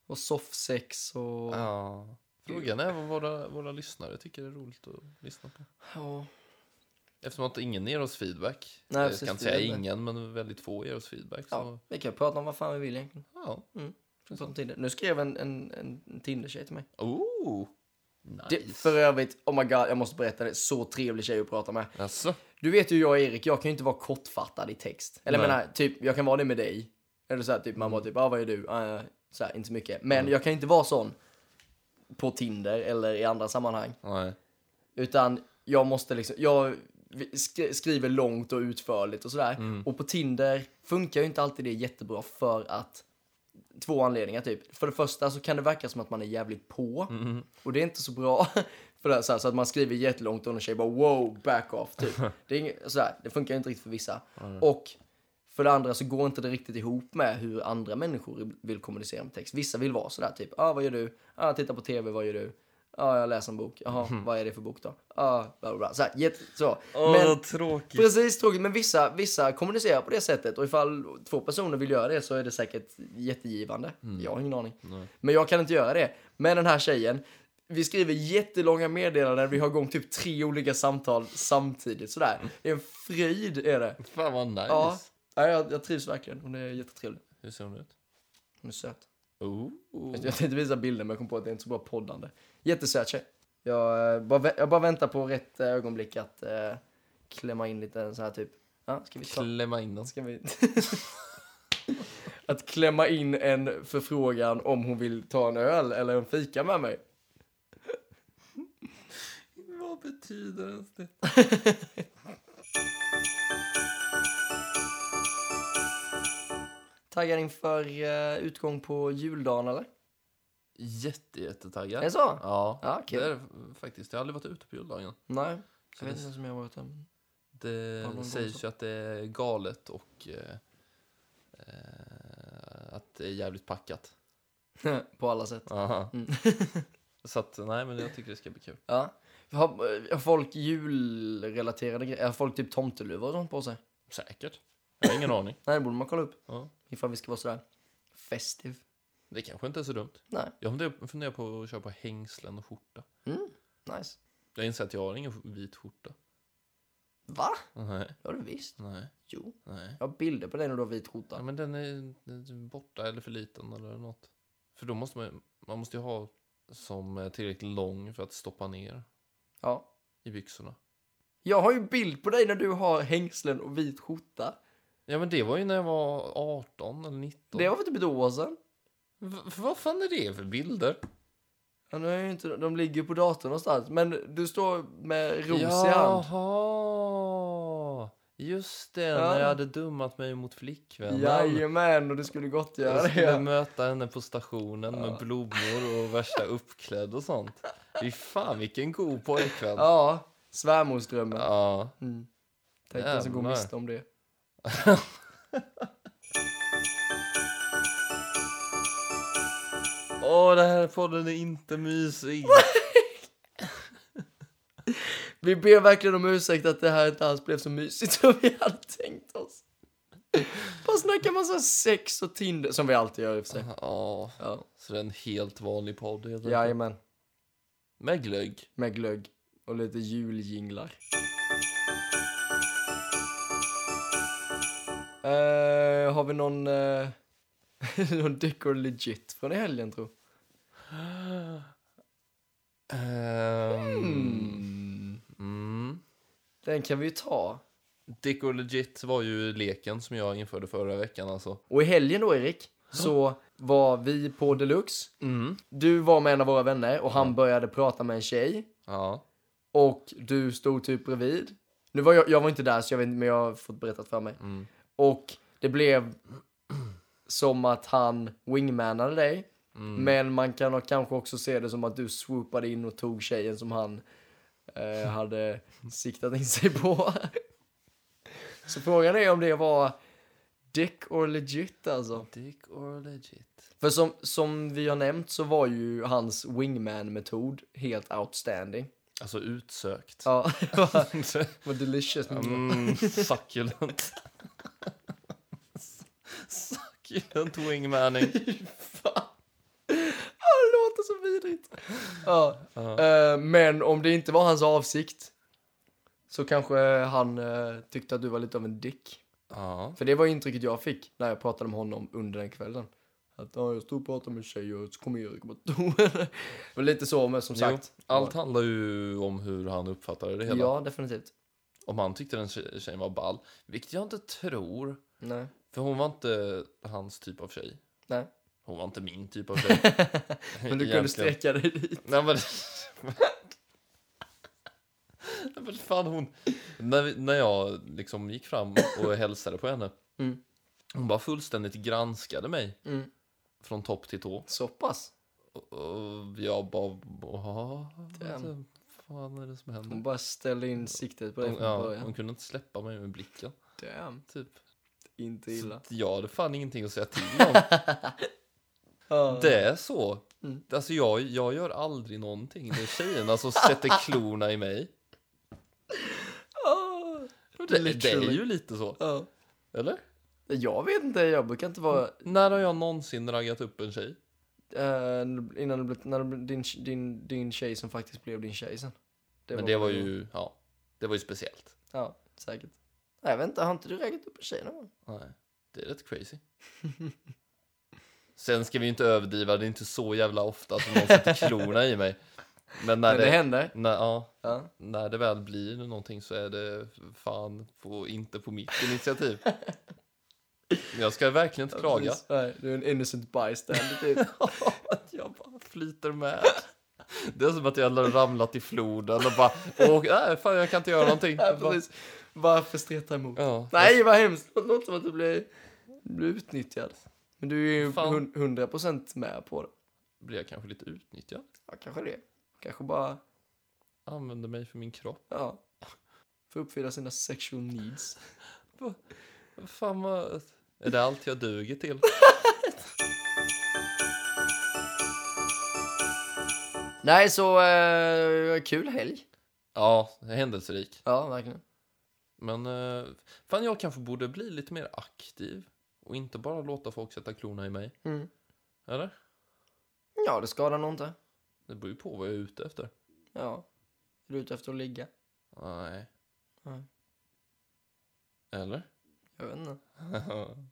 och soffsex och...
Ja. Frågan är vad våra, våra lyssnare tycker är roligt att lyssna på.
Ja.
Eftersom att ingen ger oss feedback.
Nej,
jag
precis,
ska inte
det är
säga
det.
ingen, men väldigt få ger oss feedback.
ja,
Så,
vi kan prata om vad fan vi vill egentligen.
ja.
Vi pratar om Tinder. Nu skrev en, en, en Tinder-tjej till mig.
Oh, nice.
Det, för övrigt, oh my god, jag måste berätta det. Så trevlig tjej att prata med.
Alltså,
Du vet ju jag och Erik, jag kan ju inte vara kortfattad i text. Eller jag
Nej.
menar, typ, jag kan vara det med dig. Eller så här, typ, man bara typ, ah, vad är du? Ah, så här, inte så mycket. Men jag kan inte vara sån på Tinder eller i andra sammanhang.
nej.
Utan jag måste liksom, jag sk- skriver långt och utförligt och sådär. Och på Tinder funkar ju inte alltid det jättebra för att Två anledningar typ. För det första så kan det verka som att man är jävligt på. Och det är inte så bra. [laughs] För det här, så, här, så att man skriver jättelångt och en tjej bara wow, back off. Typ. Det, är inget, så här, det funkar ju inte riktigt för vissa. Och för det andra så går inte det riktigt ihop med hur andra människor vill kommunicera med text. Vissa vill vara sådär typ, ah, vad gör du? Ah, titta på tv, vad gör du? ah, jag läser en bok. Jaha, vad är det för bok då? Ah, bla, bla, bla. Så, här, jätte, så. Men-
tråkigt.
Precis, tråkigt. Men vissa, vissa kommunicerar på det sättet och ifall två personer vill göra det så är det säkert jättegivande. Jag har ingen aning. Men jag kan inte göra det. Men den här tjejen, vi skriver jättelånga meddelanden, vi har igång typ tre olika samtal samtidigt sådär. Det är en fröjd är det.
Fan vad nice.
Ja, ja jag, jag trivs verkligen. Hon är jättetrevlig.
Hur ser hon ut?
Hon är söt.
Oh.
Jag tänkte visa bilder men jag kom på att det är inte så bra poddande. Jättesöt tjej. Jag, eh, bara, vä- jag bara väntar på rätt eh, ögonblick att eh, klämma in lite så här typ. Ja, ska vi ta
Klämma in den.
Ska vi... [laughs] att klämma in en förfrågan om hon vill ta en öl eller en fika med mig.
Vad betyder ens det?
Taggad inför eh, utgång på juldagen eller?
Jätte, jättetaggad.
Är det så?
Ja,
Ja, kul.
det är det faktiskt. Jag har aldrig varit ute på juldagen.
Nej,
Så
jag vet inte
det
ens om jag har varit där. Har
det
någon gång
sägs
så?
ju att det är galet och eh, eh, att det är jävligt packat.
[laughs] på alla sätt.
Aha. Så att, nej, men jag tycker det ska bli kul.
Ja. Har, har folk julrelaterade grejer? Har folk typ tomteluvor och sånt på sig?
Säkert. Jag har ingen aning.
Nej, det borde man kolla upp.
Ja.
Ifall vi ska vara sådär festive.
Det kanske inte är så dumt.
Nej,
Jag funderar- funderar på att köpa hängslen och skjorta.
nice.
Jag inser att jag har ingen vit skjorta.
Va?
Nej,
Ja, du visst.
nej,
Jo.
nej.
Jag har bilder på dig när du har vit
Ja,
skjorta.
men den är den är borta eller för liten eller något. För då måste man, man måste ju ha som är tillräckligt lång för att stoppa ner
Ja.
i byxorna.
Jag har ju bild på dig när du har hängslen och vit skjorta.
Ja, men det var ju när jag var 18 eller 19.
Det var för typ ett år sedan.
V- vad fan är det för bilder?
Ja, nu är ju inte, de ligger på datorn någonstans. Men du står med ros i hand.
Jaha! Just det, när
Ja.
jag hade dummat mig mot flickvännen.
Jajamän, och du skulle gott göra
Jag skulle
det.
möta henne på stationen med blommor och värsta uppklädd och sånt. Fy fan vilken god pojkvän. Ja.
Ja, svärmorsdrömmen. Mm. Tänk den som går
Jävlar.
miste om det.
Åh, den här podden är inte mysig.
Vi ber verkligen om ursäkt att det här inte alls blev så mysigt som vi hade tänkt oss. Bara snacka massa sex och Tinder, som vi alltid gör i och för sig.
Ja,
Ja.
så det är en helt vanlig podd helt enkelt.
Jajamän,
Med glögg.
med glögg och lite juljinglar. Eh, har vi någon, eh, [laughs] någon dick or legit från i helgen tror
Ehm, mm.
Den kan vi ju ta.
Dick or legit var ju leken som jag införde förra veckan alltså.
Och i helgen då Erik, så var vi på Deluxe.
Mm.
Du var med en av våra vänner och han började prata med en tjej.
Ja.
Och du stod typ bredvid. Nu var jag, jag var inte där så jag vet inte, men jag har fått berättat för mig.
Mm.
Och det blev som att han wingmanade dig.
Mm.
Men man kan ha- kanske också se det som att du swoopade in och tog tjejen som han eh, hade siktat in sig på. så frågan är om det var dick or legit alltså.
Dick or legit.
För som, som vi har nämnt så var ju hans wingman-metod helt outstanding.
Alltså utsökt.
Ja, [laughs] vad-
[laughs]
vad delicious. [laughs]
Mm, succulent. succulent wingmanning.
Fan. Ja, Det låter så vidrigt. Ja. eh, men om det inte var hans avsikt så kanske han eh, tyckte att du var lite av en dick.
Ja.
För det var intrycket jag fick när jag pratade med honom under den kvällen. Att ja, jag stod och pratade med tjejer och så kom Erik och bara tog henne. [laughs] Det var lite så, men som sagt.
Jo, allt handlar ju om hur han uppfattade det hela.
Ja, definitivt.
Om han tyckte den tje- tjejen var ball. Vilket jag inte tror.
[laughs] Nej.
För hon var inte hans typ av tjej.
Nej.
Hon var inte min typ av
[laughs]
tjej.
Men du
Egentligen.
kunde sträcka dig dit.
Nej men... [laughs] Nej, men fan hon... När, vi, när jag liksom gick fram och hälsade på henne.
Mm.
Hon bara fullständigt granskade mig.
Mm.
Från topp till tå.
Så pass.
Och- Och jag bara... "Jaha, Vad typ,
Damn.
fan är det som
Hon
händer?
bara ställde in siktet på dig
Hon,
från
ja, hon
början.
kunde inte släppa mig med blicken.
Damn.
Typ.
Inte
Så
illa.
att jag hade fan ingenting att säga till
[laughs]
om.
Ja.
Det är så.
Mm.
Alltså jag, jag gör aldrig någonting. Det är tjejerna som
[laughs]
sätter klorna i mig.
Ah.
Det, det är
Literally.
ju lite så.
Ja.
Eller?
Jag vet inte, jag brukar inte vara...
När har jag någonsin raggat upp en tjej?
eh, innan du blev, när du blev din, din, din tjej som faktiskt blev din tjej sen.
Men det var ju, ja, det var ju speciellt.
Ja, säkert. Nej, jag vet inte, har inte du raggat upp en tjej någon gång?
Nej, det är rätt crazy. Sen ska vi ju inte överdriva, det är inte så jävla ofta som någon sätter klorna i mig. Men när
Men det
det,
händer.
när, ja,
Ja.
när det väl blir någonting så är det fan på, inte på mitt initiativ. Jag ska verkligen inte klaga.
Precis. Nej, du är en innocent bystander
[laughs]
typ.
att jag bara flyter med. Det är som att jag hade ramlat i floden och bara, åh, nej, fan jag kan inte göra någonting.
Nej,
Bara-
precis. Varför streta emot?
Ja.
Nej, vad hemskt! Det låter som att du blir, blir utnyttjad. Men du är ju
Fan.
hun- 100% med på det.
Blir jag kanske lite utnyttjad?
Ja, kanske det. Kanske bara,
Använder mig för min kropp?
ja. För att uppfylla sina sexual needs.
Fan vad... Är det allt jag duger till?
Nej, så eh, kul helg. eh,
Ja, händelserik.
Ja, verkligen.
Men eh, fan, jag kanske borde bli lite mer aktiv och inte bara låta folk sätta klorna i mig.
Mm.
Eller?
Ja, det skadar nog inte.
Det beror ju på vad jag är ute efter.
Ja. Är du ute efter att ligga?
Nej.
Nej.
Eller?
[laughs] Jag vet inte.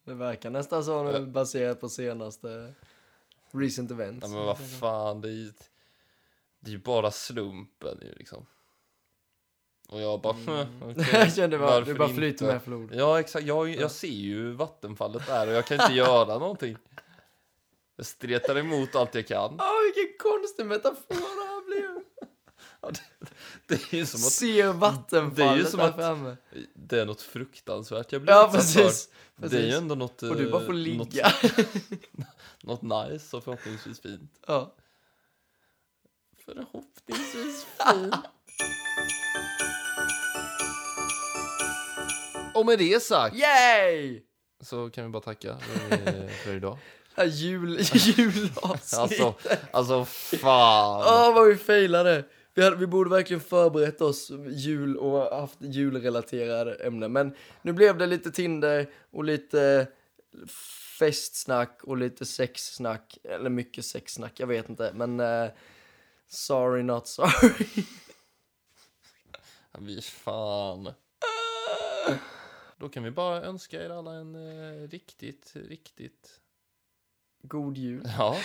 Det verkar nästan så nu
Äh.
baserat på senaste recent events.
Nej, men vad fan, det är ju, det är ju bara slumpen ju liksom. Och jag bara,
[laughs]
mm.
[laughs] jag kände bara,
varför
du bara flyter
inte?
med flod.
Ja, exakt. Jag, jag ser ju vattenfallet där och jag kan inte göra någonting. Jag stretar emot allt jag kan.
Åh, vilken konstig metafor det här blev.
Det är ju [laughs] som att
Ser vattenfallet
Det är ju som
där
att-
framme.
det är något fruktansvärt jag blir
Ja,
utsatt för.
precis.
Det är ju
precis.
ändå något,
Och du bara
eh,
får
något,
ligga.
något nice och förhoppningsvis fint.
[laughs] ja.
Förhoppningsvis fint. [laughs] Och med det sagt
Yay!
så kan vi bara tacka eh, för [laughs] idag.
Det här jul, [laughs] julavsnittet.
Alltså, alltså fan.
Åh, vad vi failade! Vi, hade, vi borde verkligen förberett oss jul och haft julrelaterade ämnen. Men nu blev det lite Tinder och lite festsnack och lite sexsnack. Eller mycket sexsnack, jag vet inte. Men eh, sorry not sorry. [laughs]
Vi fan. Då kan vi bara önska er alla en eh, riktigt, riktigt...
God jul.
Ja,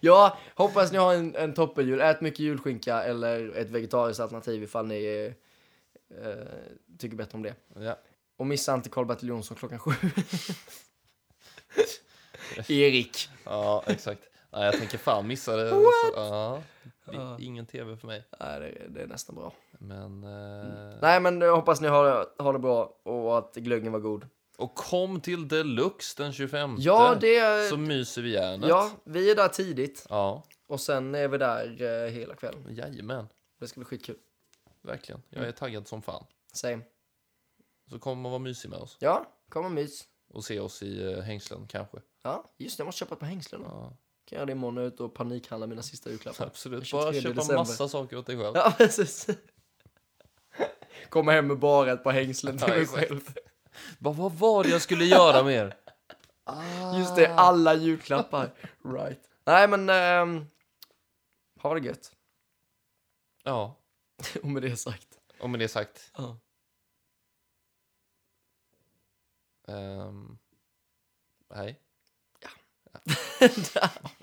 Ja, hoppas ni har en, en toppenjul. Ät mycket julskinka eller ett vegetariskt alternativ ifall ni eh, eh, tycker bättre om det.
ja.
Och missa inte Karl-Bertil Jonsson klockan sju. Erik.
ja exakt. Nej, jag tänker fan missa det.
What?
Ja, det
Ja.
är ingen tv för mig.
Nej, det, det är nästan bra.
Men... eh,
Nej, men jag hoppas ni har, har det bra och att glöggen var god.
Och kom till Deluxe den 25.
Ja, det...
Så myser vi järnet.
Ja, vi är där tidigt
ja.
och sen är vi där eh, hela kvällen.
Jajamän,
Det ska bli skitkul.
verkligen. Jag är taggad som fan.
Same.
Så kom och var mysig med oss.
Ja, kom och mys.
Och se oss i eh, hängslen kanske.
Ja, just det, jag måste köpa ett par hängslen. då.
Ja, [laughs]
Kan göra det imorgon och ut och panikhandla mina sista julklappar.
absolut.
23
Bara köpa
december.
massa saker åt dig själv.
Ja, precis. Komma hem med bara ett par hängslen till
Ja,
mig
exakt.
själv.
Bara, vad var det jag skulle göra med er?
Just det,
Ah.
alla julklappar. [laughs] Right. Nej, men... ehm, ha det gött. [laughs]
Ja,
Och med det sagt.
och med det sagt.
Ja.
ehm, hej.
Där.